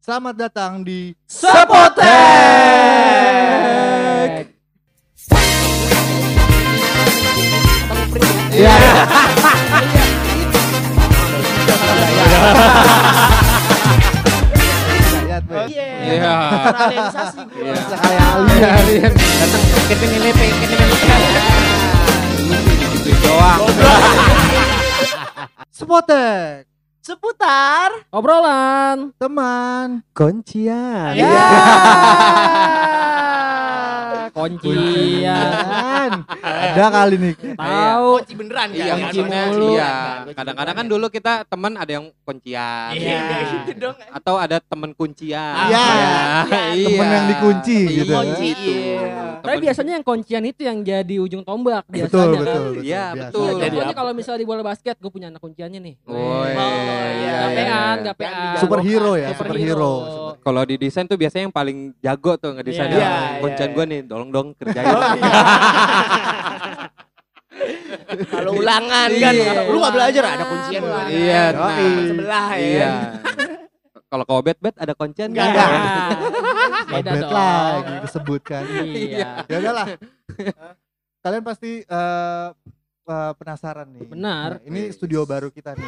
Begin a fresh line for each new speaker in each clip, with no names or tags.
Selamat datang di
Sepotek. Iya.
Rakyat. Boy.
Iya.
Terrealisasi gua.
Iya.
Saya Ali.
Iya. Datang kita nilai pengen gitu doang.
Sepotek.
Seputar.
Obrolan.
Teman.
Iya.
Iya.
Kuncian. Iya.
Ya.
Kuncian.
Kan. Ada kali nih.
Iya, Tahu.
Kunci beneran
Iya,
kan?
kunci
Beneran,
mulu.
Iya.
kan? Kunci
Kadang-kadang kan
beneran,
dulu kita teman ada yang kuncian.
Iya, gitu dong.
Atau ada teman kuncian.
Iya.
Iya.
Temen yang dikunci gitu.
Kunci itu.
Iya.
Temen-
Tapi biasanya yang kuncian itu yang jadi ujung tombak biasanya.
Betul,
kan?
betul, betul.
Iya,
Biasa.
betul.
Nah,
Jadi
Contohnya
apa?
kalau misalnya di bola basket, gue punya anak kunciannya nih.
Woi.
Oh,
iya,
Gak
iya, iya.
pean, gak pean.
Superhero ya,
Superhero.
superhero.
Kalau di desain tuh biasanya yang paling jago tuh ngedesain.
Iya.
Kuncian
Iya,
iya,
kuncian
iya.
gue nih, tolong dong kerjain. Iya,
Kalau ulangan kan.
Iya.
Lu gak belajar ada kuncian. gua.
Ulangan.
Iya,
Yoi.
nah.
Sebelah ya.
Iya. Kalau kau bet bet ada kuncian
Nggak
nggak?
ada.
Iya. Ah, Beda
Bad
dong.
lagi disebutkan.
Iya.
Ya udahlah. Kalian pasti eh, eh, penasaran nih.
Benar.
Nah, ini studio baru kita nih.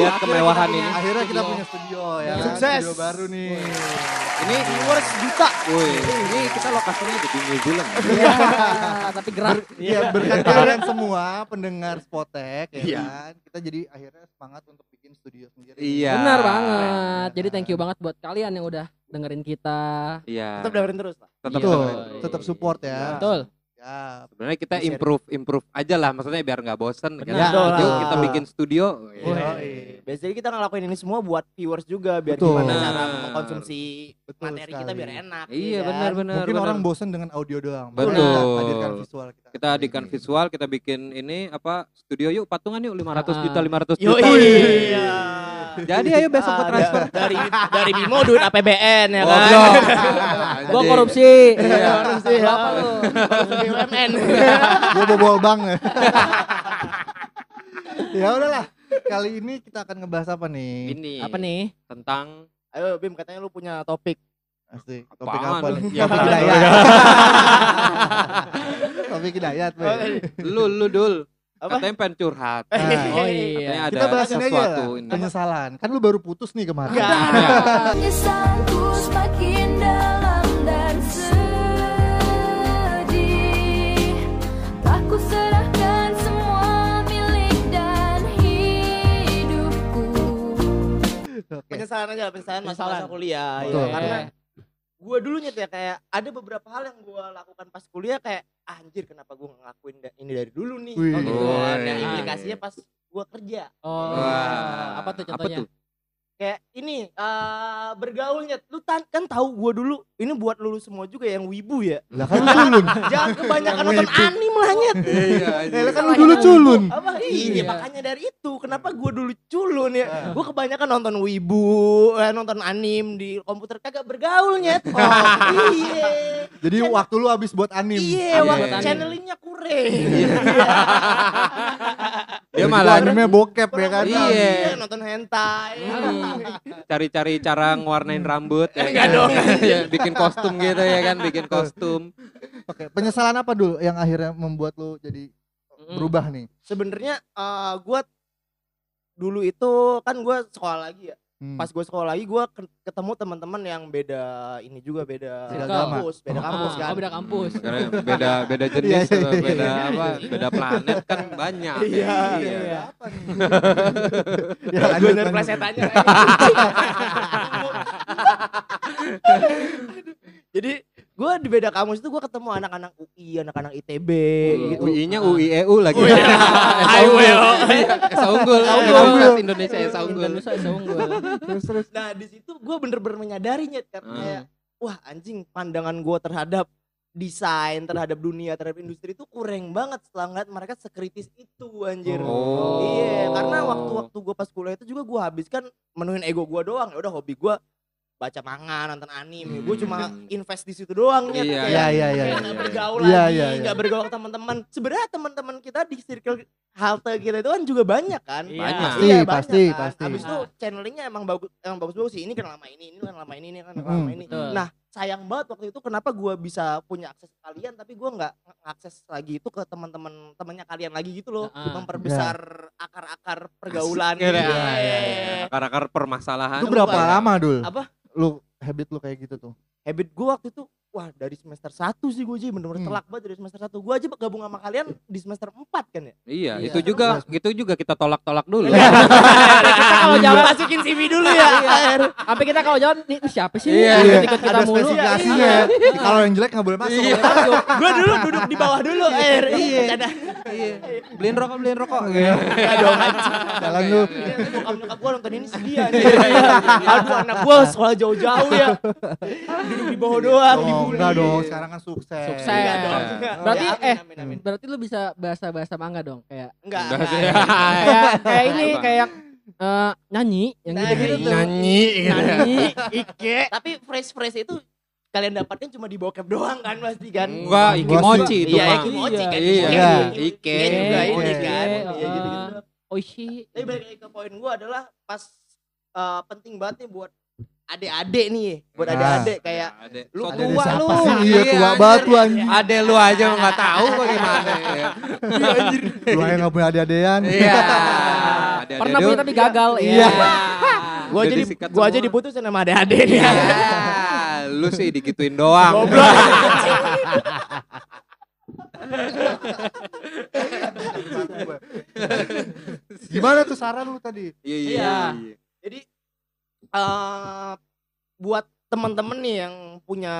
Lihat kemewahan ini.
Akhirnya kita punya studio ya. kan?
Sukses.
Studio baru nih.
Ini viewers juta. Woi, ini kita lokasinya di New Zealand.
Iya, Tapi gerak.
Iya berkat kalian semua pendengar Spotek ya
Iya.
kan. Kita jadi akhirnya semangat untuk bikin studio sendiri.
Iya.
Benar banget. Jadi thank you banget buat kalian yang udah dengerin kita.
Iya.
Tetap dengerin terus lah.
Tetap
Betul.
dengerin.
Tetap support ya.
Betul.
Ya.
Iya. Sebenarnya kita
Sharing.
improve improve aja lah maksudnya biar nggak bosen kan.
Benar.
Betul.
Yuk kita bikin studio. Iya.
Woi.
Biasanya kita ngelakuin ini semua buat viewers juga biar
Betul.
gimana cara
Benar.
mengkonsumsi
Betul
materi kita
sekali.
biar enak.
Nah. Iya
ya kan?
benar benar.
Mungkin
benar.
orang bosen dengan audio doang.
Betul.
Makanya kita Hadirkan visual kita.
kita adikan visual, kita bikin ini apa studio yuk patungan yuk 500 juta 500
Yo
juta.
iya.
Jadi ayo besok ke
Ah,
transfer.
da- dari dari Bimo duit APBN
Iya
ya kan.
Goblok.
Gua
Anjing.
korupsi.
Iya.
Korupsi, ya.
Bapak lu.
Korupsi BUMN.
Gue bobol bang ya. ya udahlah. Kali ini kita akan ngebahas apa nih?
Ini
Apa nih?
tentang
Ayo Bim katanya lu punya topik.
Asik. Topik
Apaan?
apa nih?
Ya,
Topik
apaan?
hidayat. Topik hidayat. Boy.
lu lu dul.
Apa?
Katanya pengen curhat.
Nah,
Oh
Katanya
iya.
ada
kita bahas ini aja
sesuatu
lah,
ini.
penyesalan. Kan lu baru putus nih kemarin.
Ya.
Penyesalku semakin dalam dan sedih Tak ku serahkan semua milik dan hidupku
Oke.
Penyesalan aja lah, penyesalan
Penyesalan.
masa-masa kuliah ya.
Betul.
Karena gue dulunya tuh ya kayak ada beberapa hal yang gue lakukan pas kuliah kayak "Ah, anjir kenapa gue ngelakuin da- ini dari dulu nih.
Wih.
Oh, gitu. kan.
Wih.
Dan implikasinya pas gue kerja
Oh,
Wah.
apa tuh contohnya?
tuh?
kayak ini eh, bergaulnya lu tan- kan tahu gue dulu ini buat lulu semua juga yang wibu ya
Lah kan lu culun.
jangan kebanyakan
Yang
nonton
wibu.
anim lah nyet
Iya.
Eh, lah kan lu
Selain
dulu
wibu,
culun.
apa iya,
Iya.
makanya dari itu kenapa gue dulu culun ya gue kebanyakan nonton wibu eh, nonton anim di komputer kagak bergaulnya oh iya
Jadi waktu lu habis buat anim.
iya
Anim.
waktu
Anim. Iya.
channelingnya kurang
Dia
Tiba-tiba
malah
animnya bokep ya kan.
Kurang
Iya.
bagus, nonton hentai
Hmm. cari-cari cara ngewarnain rambut ya
Enggak
kan?
dong.
Iya, bikin kostum gitu ya kan bikin kostum
Oke, penyesalan apa dulu yang akhirnya membuat lu jadi
Mm.
berubah nih?
sebenarnya eh, gue dulu itu kan gue sekolah lagi ya
Hmm.
pas gue sekolah lagi gue ketemu teman-teman yang beda ini juga beda
Beda agama.
kampus beda kampus
Ah,
kan
oh, beda kampus.
karena beda beda jenis
Iya, iya,
atau
iya,
beda
iya.
apa beda planet kan banyak
Iya,
iya.
iya.
Apa nih? ya,
Ya,
lanjut,
gue dari
lanjut.
plesetannya. Jadi gue di beda kampus itu gue ketemu anak-anak UI, anak-anak ITB
Hmm.
gitu.
UI-nya UIEU E
E
Ui.
lagi.
Ayo, ayo.
Esa unggul.
Unggul.
Esa unggul. Indonesia Esa unggul.
Indonesia bisa unggul.
Nah di situ gue bener-bener menyadarinya karena
Hmm.
kayak, wah anjing pandangan gue terhadap desain terhadap dunia terhadap industri itu kurang banget setelah ngeliat mereka sekritis itu anjir.
Oh.
Iya, karena waktu-waktu gue pas kuliah itu juga gue habiskan menuhin ego gue doang. Ya udah hobi gue baca manga, nonton anime. Gue cuma
Hmm.
invest di situ doang ya.
Iya.
Iya, iya, iya.
Kayak gak
iya, iya.
bergaul
Iya,
lagi,
iya,
nggak
iya.
bergaul ke teman-teman. Sebenarnya teman-teman kita di circle halte kita itu kan juga banyak kan
Iya.
Banyak.
Pasti,
Iya,
pasti,
kan.
pasti.
Habis itu channelingnya emang bagus, emang bagus-bagus sih. Ini kan lama ini, ini kan lama ini, ini kan lama
Mm-mm.
ini.
Betul.
Nah, sayang banget waktu itu kenapa gua bisa punya akses ke kalian tapi gua nggak akses lagi itu ke teman-teman temannya kalian lagi gitu loh,
Ah.
memperbesar akar-akar pergaulan.
Iya,
Iya.
iya, iya. Akar-akar permasalahan. Iya.
Itu berapa
Kan? Lupa. ya?
lama dul?
Apa?
Lu habit lu kayak gitu tuh.
Habit gua waktu itu wah dari semester 1 sih gua aja bener-bener
Hmm.
telak banget dari semester 1. Gua aja gabung sama kalian di semester 4 kan ya.
Iya,
Iya.
itu juga itu juga kita tolak-tolak dulu.
Iya.
Iya.
Kita kalau jangan masukin CV dulu ya.
Sampai kita kalau jawab, nih ini siapa sih?
Eh,
Iya,
Ini
iya.
ikut kita
Ada
mulu. Iya.
spesifikasinya.
Iya.
Kalau yang jelek nggak boleh masuk.
Iya.
gua dulu duduk di bawah dulu air.
Iya.
Bercanda.
Iya. Beliin rokok, beliin rokok.
Iya.
Enggak dong anjing. Iya,
Jalan lu.
Bokap nyokap gue nonton ini sedia nih. Aduh anak gue sekolah jauh-jauh ya. Duduk di bawah doang Iya,
Oh,
dibully.
enggak dong, sekarang kan sukses.
Sukses.
Enggak dong.
Berarti,
Ya, amin,
eh.
amin, amin.
Berarti lu bisa bahasa-bahasa mangga dong kayak
Enggak.
Enggak sih. Iya.
enggak.
kayak, kayak ini
Coba.
kayak eh, nyanyi yang
Nah,
gitu-gitu tuh.
Nyanyi gitu.
Nyanyi.
Ike. Tapi phrase-phrase itu kalian dapatnya cuma di bokep doang kan pasti kan.
Enggak, ikimochi itu
Iya,
mah.
Ikimochi kan.
Iya.
Iya.
Ike.
Ike juga ini
Ike.
kan. Iya
Ah.
gitu-gitu. doang.
Oh shi.
Tapi balik lagi ke poin gue adalah pas eh, penting banget nih buat adik-adik nih, buat
Ah.
Nah.
adik-adik kayak
Ade.
Lu
So
Ada
tua
siapa
lu.
sih? Iya, tua banget lu anjing.
Ade lu aja enggak tahu bagaimana.
Iya.
Lu yang nggak punya ade-adean.
Iya.
Pernah punya tapi gagal
Iya.
gue
Udah
ya. jadi
disikat
gue aja
semua.
diputusin sama adik-adik nih.
Ya, lu sih digituin doang.
Gimana tuh saran lu tadi?
Iya,
Iya.
iya.
Jadi eh buat teman-teman nih yang punya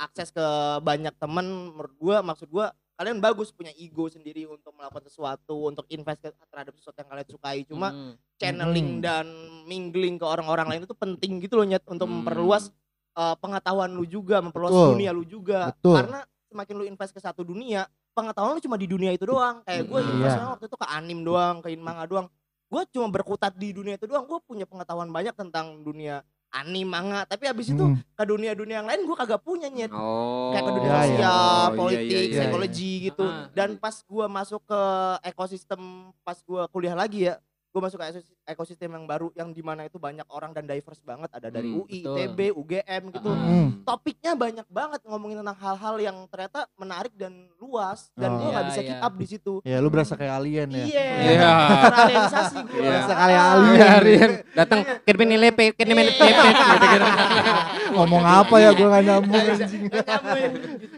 akses ke banyak teman, menurut gue maksud gue kalian bagus punya ego sendiri untuk melakukan sesuatu, untuk invest ke- terhadap sesuatu yang kalian sukai. Cuma channeling
Hmm.
dan mingling ke orang-orang lain itu penting gitu loh nyet untuk
Hmm.
memperluas eh, pengetahuan lu juga, memperluas
Mm. Betul.
dunia lu juga.
Betul.
Karena semakin lu invest ke satu dunia, pengetahuan lu cuma di dunia itu doang. Kayak gue
Iya.
investnya waktu itu ke anim doang, ke manga doang. Gue cuma berkutat di dunia itu doang. Gue punya pengetahuan banyak tentang dunia anim, manga. Tapi abis itu
Hmm.
ke dunia-dunia yang lain gue kagak punya nyet.
Oh.
Kayak ke
Iya,
dunia
iya.
sosial,
Oh, iya,
politik,
iya, iya,
psikologi gitu.
Ah.
Dan pas gue masuk ke ekosistem, pas gue kuliah lagi ya, gue masuk ke ekos- ekosistem yang baru, yang dimana itu banyak orang dan diverse banget. Ada dari
Hmm,
UI,
betul.
ITB, UGM gitu.
Ah.
Hmm.
Topiknya banyak banget ngomongin tentang hal-hal yang ternyata menarik dan luas. Dan gue
Oh.
nggak
Iya,
bisa
iya.
keep up di situ.
Ya lu berasa kayak alien ya.
Iya.
Iya.
Terrealisasi gue.
Iya.
Berasa kayak
Ah.
alien.
Datang kirpin lepe,
Iya.
kirpin lepe, gitu-gitu.
Ngomong
Iya.
apa ya gua nggak nyambung.
Nggak
anjing.
nyambung.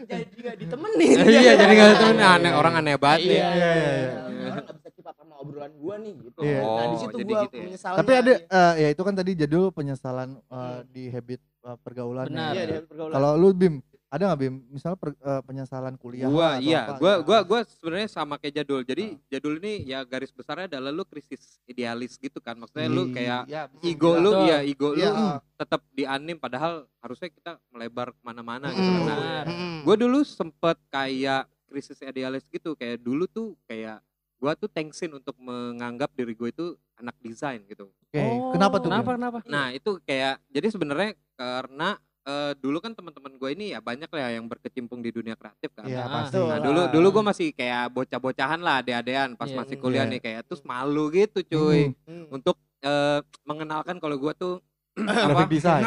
Jadi nggak ditemenin.
Iya, jadi enggak temen aneh, orang aneh banget ya.
Iya,
Iya, iya,
iya.
iya.
Orang nggak bisa keep up sama obrolan gua nih gitu.
Iya.
Nah, di
Oh,
situ
jadi
gua
gitu ya.
menyesalnya.
Tapi ada eh, ya itu kan tadi jadul penyesalan eh, di habit eh, pergaulan.
Benar.
Iya,
ya.
di pergaulan.
Kalau lu Bim, ada nggak Bim? Misalnya per- eh, penyesalan kuliah.
Gua
atau
iya,
apa
gua
gitu?
gua gua sebenarnya sama kayak Jadul. Jadi Jadul ini ya garis besarnya adalah lu krisis idealis gitu kan. Maksudnya lu kayak
Iya, betul.
ego lu
Betul.
ya ego lu
Iya.
tetap di anim padahal harusnya kita melebar kemana-mana
Hmm.
gitu.
Mm.
Nah,
Benar.
Mm.
gue dulu sempet kayak krisis idealis gitu kayak dulu tuh kayak gue tuh tensin untuk menganggap diri gue itu anak desain gitu
Oke, eh,
Oh,
kenapa tuh?
Kenapa
Bim?
kenapa?
nah itu kayak jadi sebenarnya karena eh, dulu kan teman-teman gue ini ya banyak lah yang berkecimpung di dunia kreatif kan
Iya,
Ah.
pasti.
Betul.
Nah dulu dulu gue masih kayak bocah-bocahan lah ade-adean pas
Iya.
masih kuliah
Iya.
nih kayak terus malu gitu cuy
Mm.
untuk eh, mengenalkan kalau gue tuh apa
Graphic design.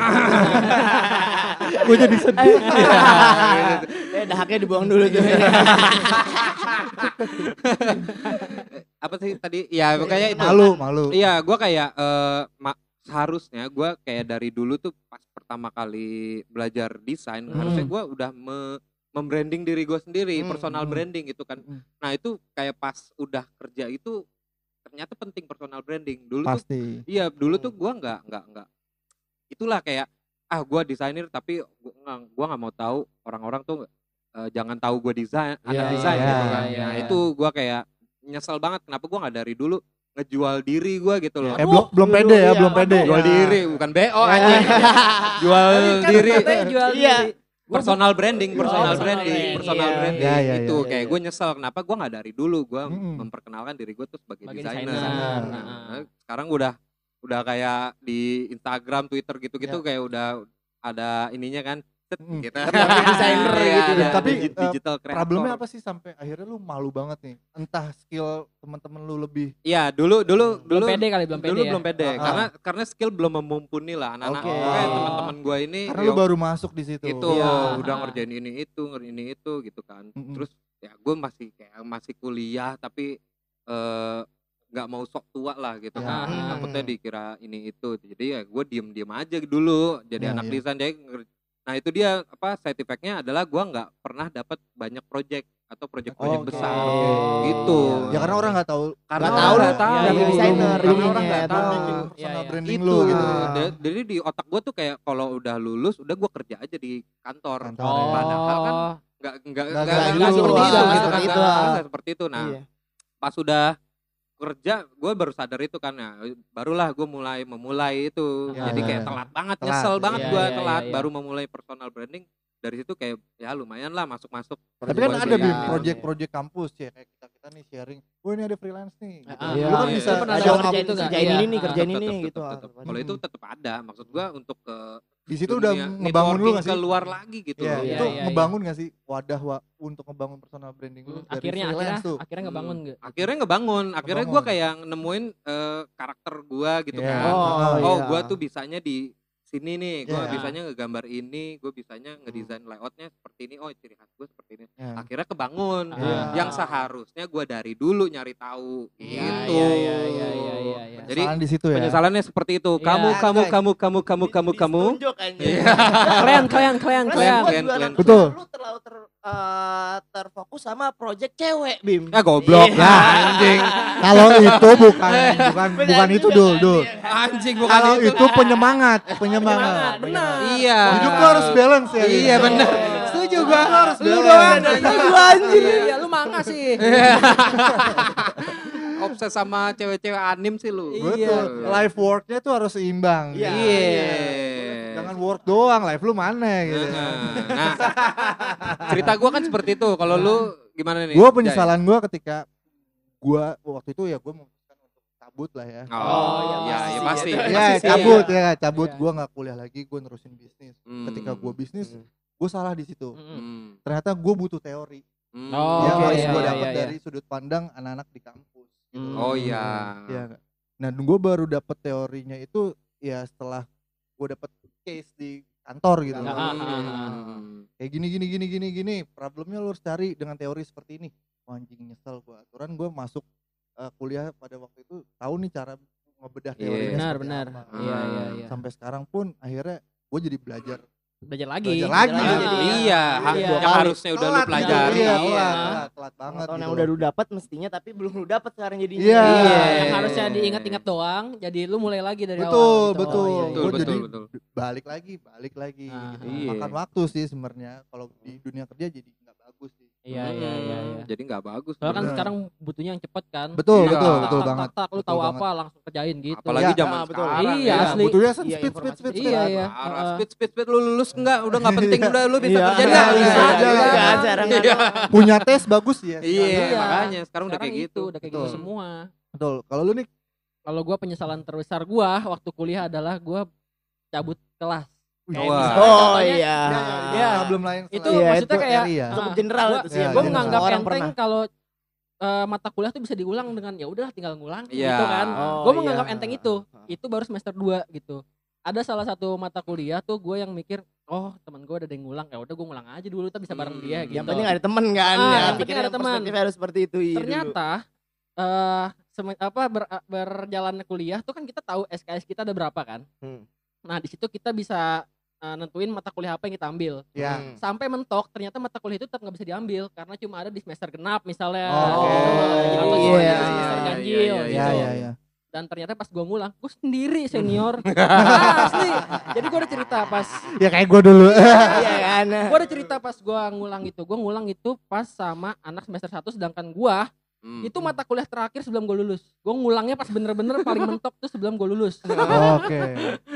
Gue ya? jadi sedih.
Eh, dahaknya dibuang dulu tuh.
Iya. apa sih tadi ya pokoknya itu
malu, malu.
Iya, gua kayak eh, ma- seharusnya gua kayak dari dulu tuh pas pertama kali belajar desain
Hmm.
harusnya gua udah me- membranding diri gua sendiri,
Hmm,
personal
hmm.
branding gitu kan.
Hmm.
Nah, itu kayak pas udah kerja itu ternyata penting personal branding. Dulu tuh
Pasti.
iya, dulu tuh
Oh.
Hmm.
gua nggak nggak nggak itulah kayak ah gua desainer tapi gua nggak- gua nggak mau tahu orang-orang tuh eh, jangan tahu gua desain, anak
Iya,
desain gitu
iya,
kan.
iya,
Nah,
iya.
itu gua kayak nyesel banget kenapa gua nggak dari dulu ngejual diri gua gitu loh.
Eh, belum belum
dulu,
pede ya,
iya,
belum pede.
Jual
Ya.
diri bukan BO
Iya.
anjing. Jual
kan
diri
katanya jual
Iya.
diri.
personal branding, personal
personal
branding,
branding,
personal
iya.
branding
Iya, iya,
itu
iya,
kayak
iya.
gue nyesel kenapa gue nggak dari dulu gue
Mm-mm.
memperkenalkan diri gue tuh sebagai
Sebagai
desainer.
desainer.
Nah,
Heeh.
sekarang udah udah kayak di Instagram, Twitter gitu-gitu kayak udah ada ininya kan Cet,
Mm.
gitu.
Tapi desainer
Iya,
gitu ya.
ada
Tapi,
digi-
eh,
digital creator.
Problemnya apa sih sampai akhirnya lu malu banget nih? Entah skill teman-teman lu lebih.
Iya, dulu dulu dulu
belum pede kali belum pede
dulu
ya.
belum pede
Ah.
karena karena skill belum memumpuni lah anak-anak
Oke.
Makanya teman-teman gue ini
Karena
ya
lu baru masuk di situ.
itu
Iya.
Gitu. udah ngerjain ini itu ngerjain ini itu gitu kan
Mm-mm.
terus ya gue masih kayak masih kuliah tapi eh, nggak mau sok tua lah gitu
Ya.
kan
Mm.
takutnya dikira ini itu jadi ya gue diem diem aja dulu jadi
Iya,
anak
iya.
desain jadi nger- nah itu dia apa side effect-nya adalah gue nggak pernah dapat banyak project atau project-project
Oke.
besar
Oke.
gitu
Ya karena orang nggak tahu
karena
Oh,
Nggak tahu
orang
lu,
nggak tahu
iya, iya, desainer,
karena orang
dulunya,
nggak tahu
branding
branding
Iya,
personal
iya.
branding
itu
lu gitu.
Da- jadi di otak gue tuh kayak kalau udah lulus udah gue kerja aja di kantor,
Oh,
Kantor, ya.
padahal kan nggak nggak
Nggak-
nggak
nggak
nggak
gitu,
seperti
nggak
itu gitu kan
seperti
nggak
itu, ah.
nggak seperti itu nah
Iya.
pas udah kerja gue baru sadar itu kan ya barulah gue mulai memulai itu
Ya,
jadi
ya,
kayak
ya.
telat banget
Telat,
nyesel
iya.
banget
Iya,
gue
iya,
telat
iya.
baru memulai personal branding dari situ kayak ya lumayan lah masuk masuk
Tapi kan
Buat
ada
branding.
Bim, project-project kampus ya kayak kita kita nih sharing. Gue ini ada freelance nih. Gitu.
Ah,
lu kan
iya,
bisa
iya.
ada
Pernah
Ada
ada
orang
kerja
kerjain
itu nggak?
kerjain
Iya,
ini nih,
ah,
kerjain
Tetep,
ini
tetep,
gitu.
tetep. kalau itu tetap ada maksud gue untuk ke
di situ udah
dunia
ngebangun lu
networking
nggak sih?
keluar lagi gitu
Iya,
loh.
Iya,
itu
iya,
ngebangun nggak sih wadah wa, untuk ngebangun personal branding lu
Hmm,
dari
akhirnya akhirnya
freelance tuh?
akhirnya ngebangun nggak?
akhirnya ngebangun akhirnya gue
Ngebangun.
kayak nemuin eh, karakter gue gitu
Iya.
kan
Oh,
iya.
oh, gue tuh bisanya di sini nih gue
Iya.
bisanya ngegambar ini gue bisanya ngedesain layoutnya seperti ini oh ciri khas gue seperti ini
Iya.
akhirnya kebangun
Iya.
yang seharusnya gue dari dulu nyari tahu
Iya,
gitu
iya, iya, iya, iya, iya, iya.
jadi
Kesalahan di situ ya.
penyesalannya seperti itu kamu
Iya.
kamu
Guys.
kamu kamu kamu kamu kamu
Ditunjuk anjing.
Iya.
Kalian kalian kalian
Plus
kalian.
Kalian.
gua juga
kalian.
nangkep
Betul.
Lu terlalu ter, eh, terfokus sama project cewek, Bim.
ya goblok
Iya.
lah anjing
Kalau itu bukan bukan bukan itu dul dul.
anjing bukan
Kalau
itu
itu penyemangat, penyemangat.
benar.
iya
Hidup lu harus balance ya.
iya
Bim.
benar
Iya.
setuju
Hidup
gue
lu harus Iya.
lu Eh.
balance.
doang
Gua anjir ya lu mangga sih.
Iya. Obses sama cewek-cewek anim sih lu.
Betul. Life worknya tuh harus seimbang. gitu.
Iya.
Iya.
Jangan work doang, life lu mana gitu.
Heeh. Nah, cerita gua kan seperti itu. Kalau lu gimana nih? Oh, iya,
Gue penyesalan gue ketika gue waktu itu ya gue memutuskan untuk cabut lah ya.
Jai? Oh, iya,
pasti
ya
sih,
pasti.
ya.
Ya
Iya.
cabut ya cabut.
Iya.
Gue nggak kuliah lagi, gue nerusin bisnis.
Hmm.
Ketika gue bisnis, gue salah di situ. Ternyata gue butuh teori
Hmm.
hmm.
Oh,
yang
oke,
harus gitu.
iya,
gue
iya,
dapat
iya.
dari sudut pandang anak-anak di kampus. gitu.
Hmm.
Oh iya.
Iya. nggak? Nah, gue baru dapet teorinya itu ya setelah gue dapet case di kantor gitu.
Iya.
Ah, ah, ah, ah.
Kayak gini gini gini gini gini, problemnya lu harus cari dengan teori seperti ini. Wah, anjing nyesel gue. Aturan gue masuk eh, kuliah pada waktu itu tahu nih cara ngebedah
Iya.
teorinya.
Benar
seperti
benar.
apa. Nah,
Iya iya iya.
Sampai sekarang pun akhirnya gue jadi belajar.
Belajar lagi.
Belajar lagi.
Belajar
Iya.
Iya, ha-
Iya.
yang harusnya Ya udah lu
Telat,
pelajari.
Iya,
Iya.
telat, telat, telat banget.
Tahun yang
gitu.
udah lu dapat mestinya tapi belum lu dapat sekarang jadinya.
Iya.
Iya, yang
Iya.
harusnya diingat-ingat doang. Jadi lu mulai lagi dari
Betul,
awal. gitu.
betul.
Oh, iya, iya.
Betul,
Gua
betul,
jadi-
betul.
balik lagi, balik lagi.
Ah,
gitu.
iya.
Makan waktu sih sebenarnya. Kalau di dunia kerja jadi nggak bagus sih.
Iya iya iya. iya.
Hmm, Jadi nggak bagus.
Soalnya kan
Bener.
sekarang butuhnya yang cepat kan.
Betul,
Iya.
betul, betul
tak,
banget.
Tak, tak, lu
Betul
tahu
banget.
apa langsung kerjain gitu.
Apalagi
Iya,
zaman
ah, betul.
sekarang.
Iya,
ya.
asli.
Butuhnya speed, speed,
Iya,
speed,
informasi.
speed, speed.
Iya iya.
Parah,
Heeh.
speed speed speed lu lulus enggak? Udah enggak penting udah lu bisa
Iya.
kerja
Iya,
enggak?
bisa
Iya,
aja.
iya.
Nggak, jarang
Iya.
Punya tes bagus ya.
Iya,
Iya.
makanya sekarang udah kayak
Sekarang
gitu.
itu, udah kayak gitu
Betul.
semua.
Betul. Kalau lu nih
Kalau gua penyesalan terbesar gua waktu kuliah adalah gua cabut kelas.
Wah.
Oh
Katanya-
iya.
Iya.
belum lain selain-
Itu
Iya,
maksudnya
itu
kayak
eri ya.
Cukup
Ah,
general
gua-
itu sih.
Iya,
gue
iya.
menganggap
Orang
enteng
pernah.
kalau eh, mata kuliah tuh bisa diulang dengan ya udahlah tinggal ngulang
Iya.
gitu kan.
Oh,
gue menganggap
iya.
enteng itu. Itu baru semester 2 gitu. Ada salah satu mata kuliah tuh gue yang mikir, oh teman gue ada yang ngulang, ya udah gue ngulang aja dulu, tapi bisa bareng
Hmm.
dia gitu.
Yang penting ada teman kan.
Ah,
ya.
yang penting
Pikir
ada
yang
teman.
perspektif harus seperti itu. iya, dulu.
ternyata eh seme- apa ber- berjalan kuliah tuh kan kita tahu SKS kita ada berapa kan.
Hmm.
Nah di situ kita bisa eh, nentuin mata kuliah apa yang kita ambil.
Iya.
Hmm.
Sampai mentok ternyata mata kuliah itu tetap nggak bisa diambil karena cuma ada di semester genap misalnya.
Oh,
Atau cuma
iya,
di semester
iya,
ganjil.
iya,
Iya,
gitu.
iya, iya.
Dan ternyata pas gue ngulang, gue sendiri senior. Asli. Jadi gue ada cerita pas
Ya kayak gue dulu.
Iya kan.
gue ada cerita pas gue ngulang itu gue ngulang itu pas sama anak semester 1 sedangkan gue
Hmm.
itu mata kuliah terakhir sebelum gue lulus gue ngulangnya pas bener-bener paling mentok tuh sebelum gue lulus
Oke.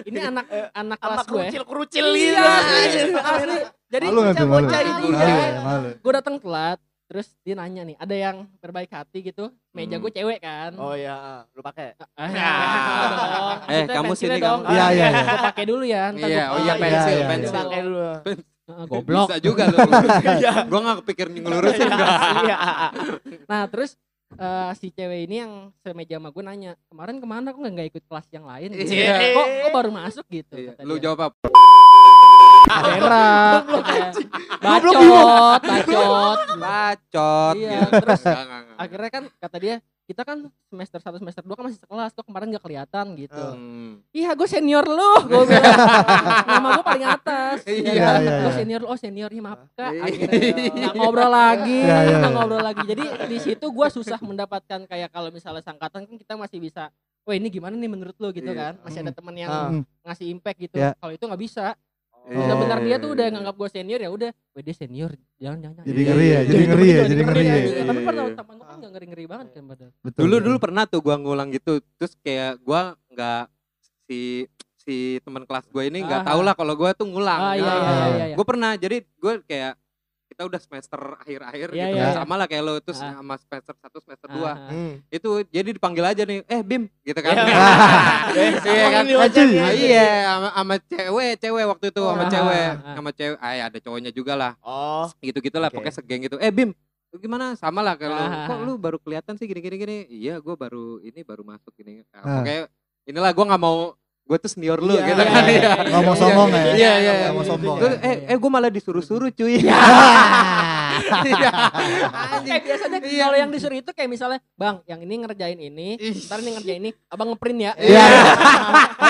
ini anak anak
Sama
kelas ya. gue
kerucil-kerucil gitu.
iya asli, asli. jadi
Malu nggak tuh malu.
bocah-bocah
Malu
ini
ya, malu.
gue datang telat terus dia nanya nih ada yang terbaik hati gitu meja gue cewek kan
Oh iya, lu pakai.
Ah,
Ya.
dong.
Eh,
Maksudnya
kamu sini,
pensilnya dong.
kamu.
Iya, iya, iya.
gue pakai dulu ya
Iya,
ntar gua-
oh
Ah,
iya
iya,
pensil,
iya,
Lu
pensil.
pakai dulu.
Heeh,
Kok
goblok.
Bisa juga lu.
Iya.
gue gak kepikiran ngelurusin dah.
Iya.
Nah terus eh, si cewek ini yang semeja sama gue nanya kemarin kemana kok nggak nggak ikut kelas yang lain gitu.
Iya.
kok, kok baru masuk gitu
Iya.
kata
Lu
dia.
jawab apa?
Era, kayak, bacot bacot
Bacot.
Iya,
gitu.
terus
Nggak, nggak, nggak.
akhirnya kan kata dia kita kan semester 1 semester 2 kan masih sekelas kok kemarin nggak kelihatan gitu
Hmm.
iya gue senior lu gue bilang nama gue paling atas
Iya,
ya kan?
iya,
Lu
iya.
senior lu oh senior ya maaf kak
Iya.
akhirnya nggak ngobrol lagi
Iya, iya,
nggak
iya.
ngobrol lagi jadi di situ gue susah mendapatkan kayak kalau misalnya sangkatan kan kita masih bisa Wah ini gimana nih menurut lu gitu
Iya.
kan masih
Hmm.
ada temen yang
Ah.
ngasih impact gitu
Iya.
kalau itu nggak bisa
Oh.
Iya.
udah bentar dia tuh udah nganggap gue senior ya udah wah dia senior jangan jangan Iya, jangan.
Jadi ngeri ya, jadi ngeri ya, jadi ngeri ya.
Iya,
tapi
iya,
pernah
iya.
teman gue kan nggak ngeri ngeri banget kan padahal
Betul,
Dulu
betul.
dulu pernah tuh gua ngulang gitu. Terus kayak gua nggak si si teman kelas gue ini nggak
Ah.
tahu lah kalau gua tuh ngulang.
ah iya
gitu.
iya iya, iya, iya.
Gue pernah, jadi gue kayak kita udah semester akhir-akhir
Iya,
gitu,
iya,
sama lah kayak lo terus
Ah.
sama semester satu semester
Ah,
dua
ah.
itu jadi dipanggil aja nih, eh Bim gitu kan?
Iya.
Iya,
Iya
kan?
Aji.
Nah, iya, sama, sama cewek, cewek waktu itu sama
Ah,
cewek,
ah, ah.
sama cewek, ah, ya ada cowoknya juga lah,
Oh,
gitu gitulah,
Oke.
pokoknya segeng gitu. Eh Bim, lu gimana? Sama lah kalau
Ah,
kok
ah.
lu baru kelihatan sih gini-gini gini. Iya, gue baru ini baru masuk gini. Nah,
Ah.
Pokoknya inilah gue nggak mau gue tuh senior lu
Iya,
gitu
iya,
kan?
iya,
Iya.
Nggak mau sombong ya.
Iya, iya, iya.
Nggak mau sombong. ya?
Terus, eh, eh gue malah disuruh-suruh cuy.
Ah,
Iya.
eh biasanya
Iya.
kalau yang disuruh itu kayak misalnya bang yang ini ngerjain ini
Ih.
ntar ini ngerjain ini abang ngeprint ya
Iya.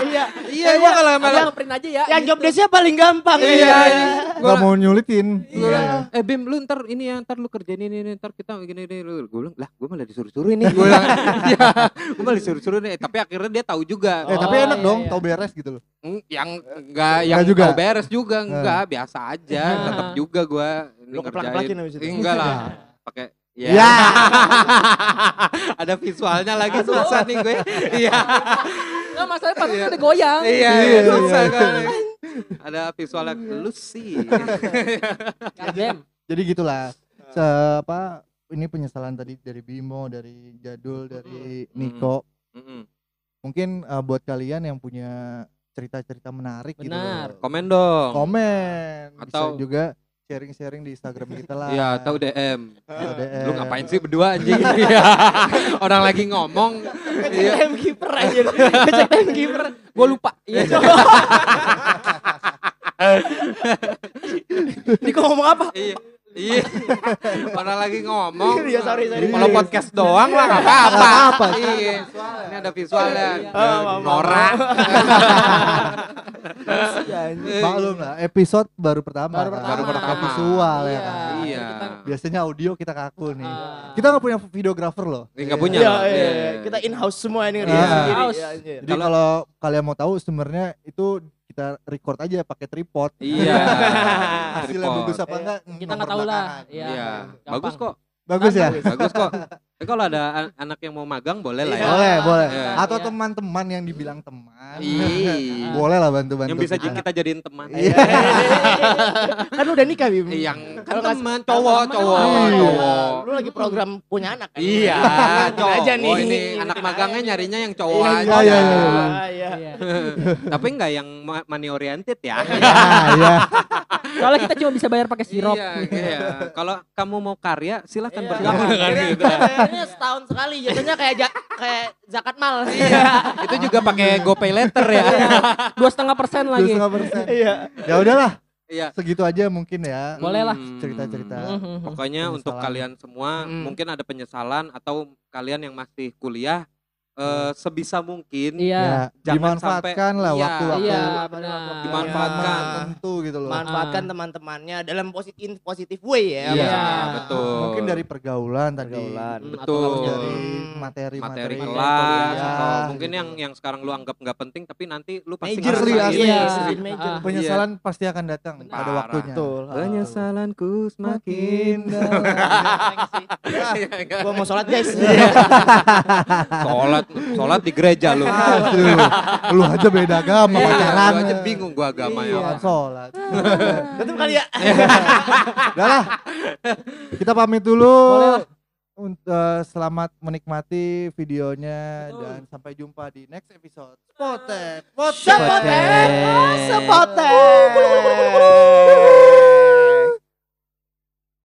iya.
Iya, gue kalau malah
abang ngeprint aja ya
Yang
gitu.
job desk-nya paling gampang.
Iya, iya.
Nggak mau nyulitin. Iya.
Gua bilang, eh Bim lu ntar ini ya ntar lu kerjain ini, ini ntar kita gini gini lu gue bilang lah gue malah disuruh-suruh ini gue bilang ya gue malah disuruh-suruh ini tapi akhirnya dia tahu juga
Eh tapi
Oh,
enak
iya,
dong,
iya.
tau beres gitu loh.
Mm, yang enggak yang
juga. Eh.
tahu beres juga enggak biasa aja
Ah.
tetap juga gue
Lu keplak-keplakin habis itu.
enggak lah pakai ya
Ya.
ada visualnya lagi susah nih gue iya
nggak masalah pas itu udah goyang
iya
Iya,
susah
iya.
kan ada visualnya lu sih
Nah, Goddamn.
Jadi
Ah.
gitulah. Se- apa ini penyesalan tadi dari Bimo, dari Jadul, dari
Mm.
Niko.
Mm-mm.
Mungkin eh, buat kalian yang punya cerita-cerita menarik gitu.
Benar.
loh.
komen dong
Komen.
Atau-
Bisa juga sharing-sharing di Instagram kita lah.
Iya, atau DM.
Atau DM.
Lu ngapain sih berdua anjing? Iya. Orang lagi ngomong.
Ngecek
Iya.
time keeper aja. Ngecek time keeper.
gue lupa iya
Niko ngomong apa?
Iya. Iya. Orang lagi ngomong.
Iya, sorry, sorry.
Kalau
Iya.
podcast doang lah enggak apa-apa.
apa-apa.
Iya. Ini ada visualnya.
Iya.
Ada
Oh, maaf,
Nora.
Maklum lah, episode baru pertama.
baru
kan.
pertama
Baru pertama.
Visual ya kan.
Iya.
Biasanya audio kita kaku nih.
Ah.
Kita nggak punya videografer loh.
Ini enggak punya.
Iya,
loh.
iya,
Iya.
iya. Kita in house semua ini
Iya.
ngerjain sendiri.
House.
Iya, anjir.
Jadi kalau kalian mau tahu sebenarnya itu kita record aja pakai tripod.
Iya.
Hasilnya
Tripod.
bagus apa enggak?
Iya. kita
nomor
nggak tahu lah
belakangan.
Iya,
Iya.
gampang.
Bagus kok.
Bagus ya?
Bagus kok. Tapi kalau ada an- anak yang mau magang boleh lah ya.
Iya.
Boleh, boleh.
Iya.
Atau teman-teman yang dibilang teman.
Iya.
Boleh lah bantu-bantu.
Yang bisa
kita.
kita jadiin teman.
Iya.
Kan udah nikah, Bim.
Eh, yang kan
Kalau nggak-
teman cowok
teman
cowok
Iya.
emang
cowok.
Lu lagi program punya anak kan?
iya
Ingetin
cowok Oh,
aja nih.
ini anak magangnya nyarinya yang cowok aja
iya, iya, iya.
Ah, iya.
Iya.
tapi nggak yang ma- money oriented ya
Ah, iya.
soalnya kita cuma bisa bayar pakai sirup
iya, iya. kalau kamu mau karya silahkan
Iya.
bergabung dengan kita
Bayarnya setahun sekali, jatuhnya kayak ja- kayak zakat mal. Iya.
itu juga pakai gopay letter ya
Iya. dua setengah persen
Terus
lagi
nggak persen.
Iya.
Ya udahlah,
iya
segitu aja mungkin ya.
Boleh lah.
Hmm.
Cerita-cerita.
Mhm.
Pokoknya
Penyesalan.
untuk kalian semua
Mm.
mungkin ada penyesalan atau kalian yang masih kuliah eh, sebisa mungkin
Ya,
iya
Jangan
dimanfaatkan
sampai-
lah
iya.
waktu-waktu
iya
waktu
benar
Dimanfaatkan.
tertentu gitu loh.
Manfaatkan Iya. teman-temannya dalam positif positif way ya.
Iya,
maksudnya.
betul Iya.
Mungkin dari pergaulan tadi.
Pergaulan.
Hmm, atau
betul
harus
Dari
Hmm.
materi
materi-materi
kelas
kuliah,
atau mungkin
gitu.
yang yang sekarang lu anggap nggak penting tapi nanti lu pasti gitu.
Major
asli,
sih,
ngerasain.
asli.
iya,
Iya.
street major.
Ah.
penyesalan pasti akan datang
Benar.
pada
Iya. Parah.
waktunya.
Betul. Iya,
Penyesalanku semakin
Gua mau sholat guys.
Iya. Sholat, sholat di gereja lu
Aduh, lu aja beda agama
Iya,
pacaran.
Gua aja bingung gua agama
Iya,
ya
sholat.
Tutup kali ya.
Udah lah. Kita pamit dulu.
Boleh lah.
untuk selamat menikmati videonya
Betul.
dan sampai jumpa di next episode.
Eh,
Spotet, Spotet.
Sepotet.
Sepotet.
Sepotet.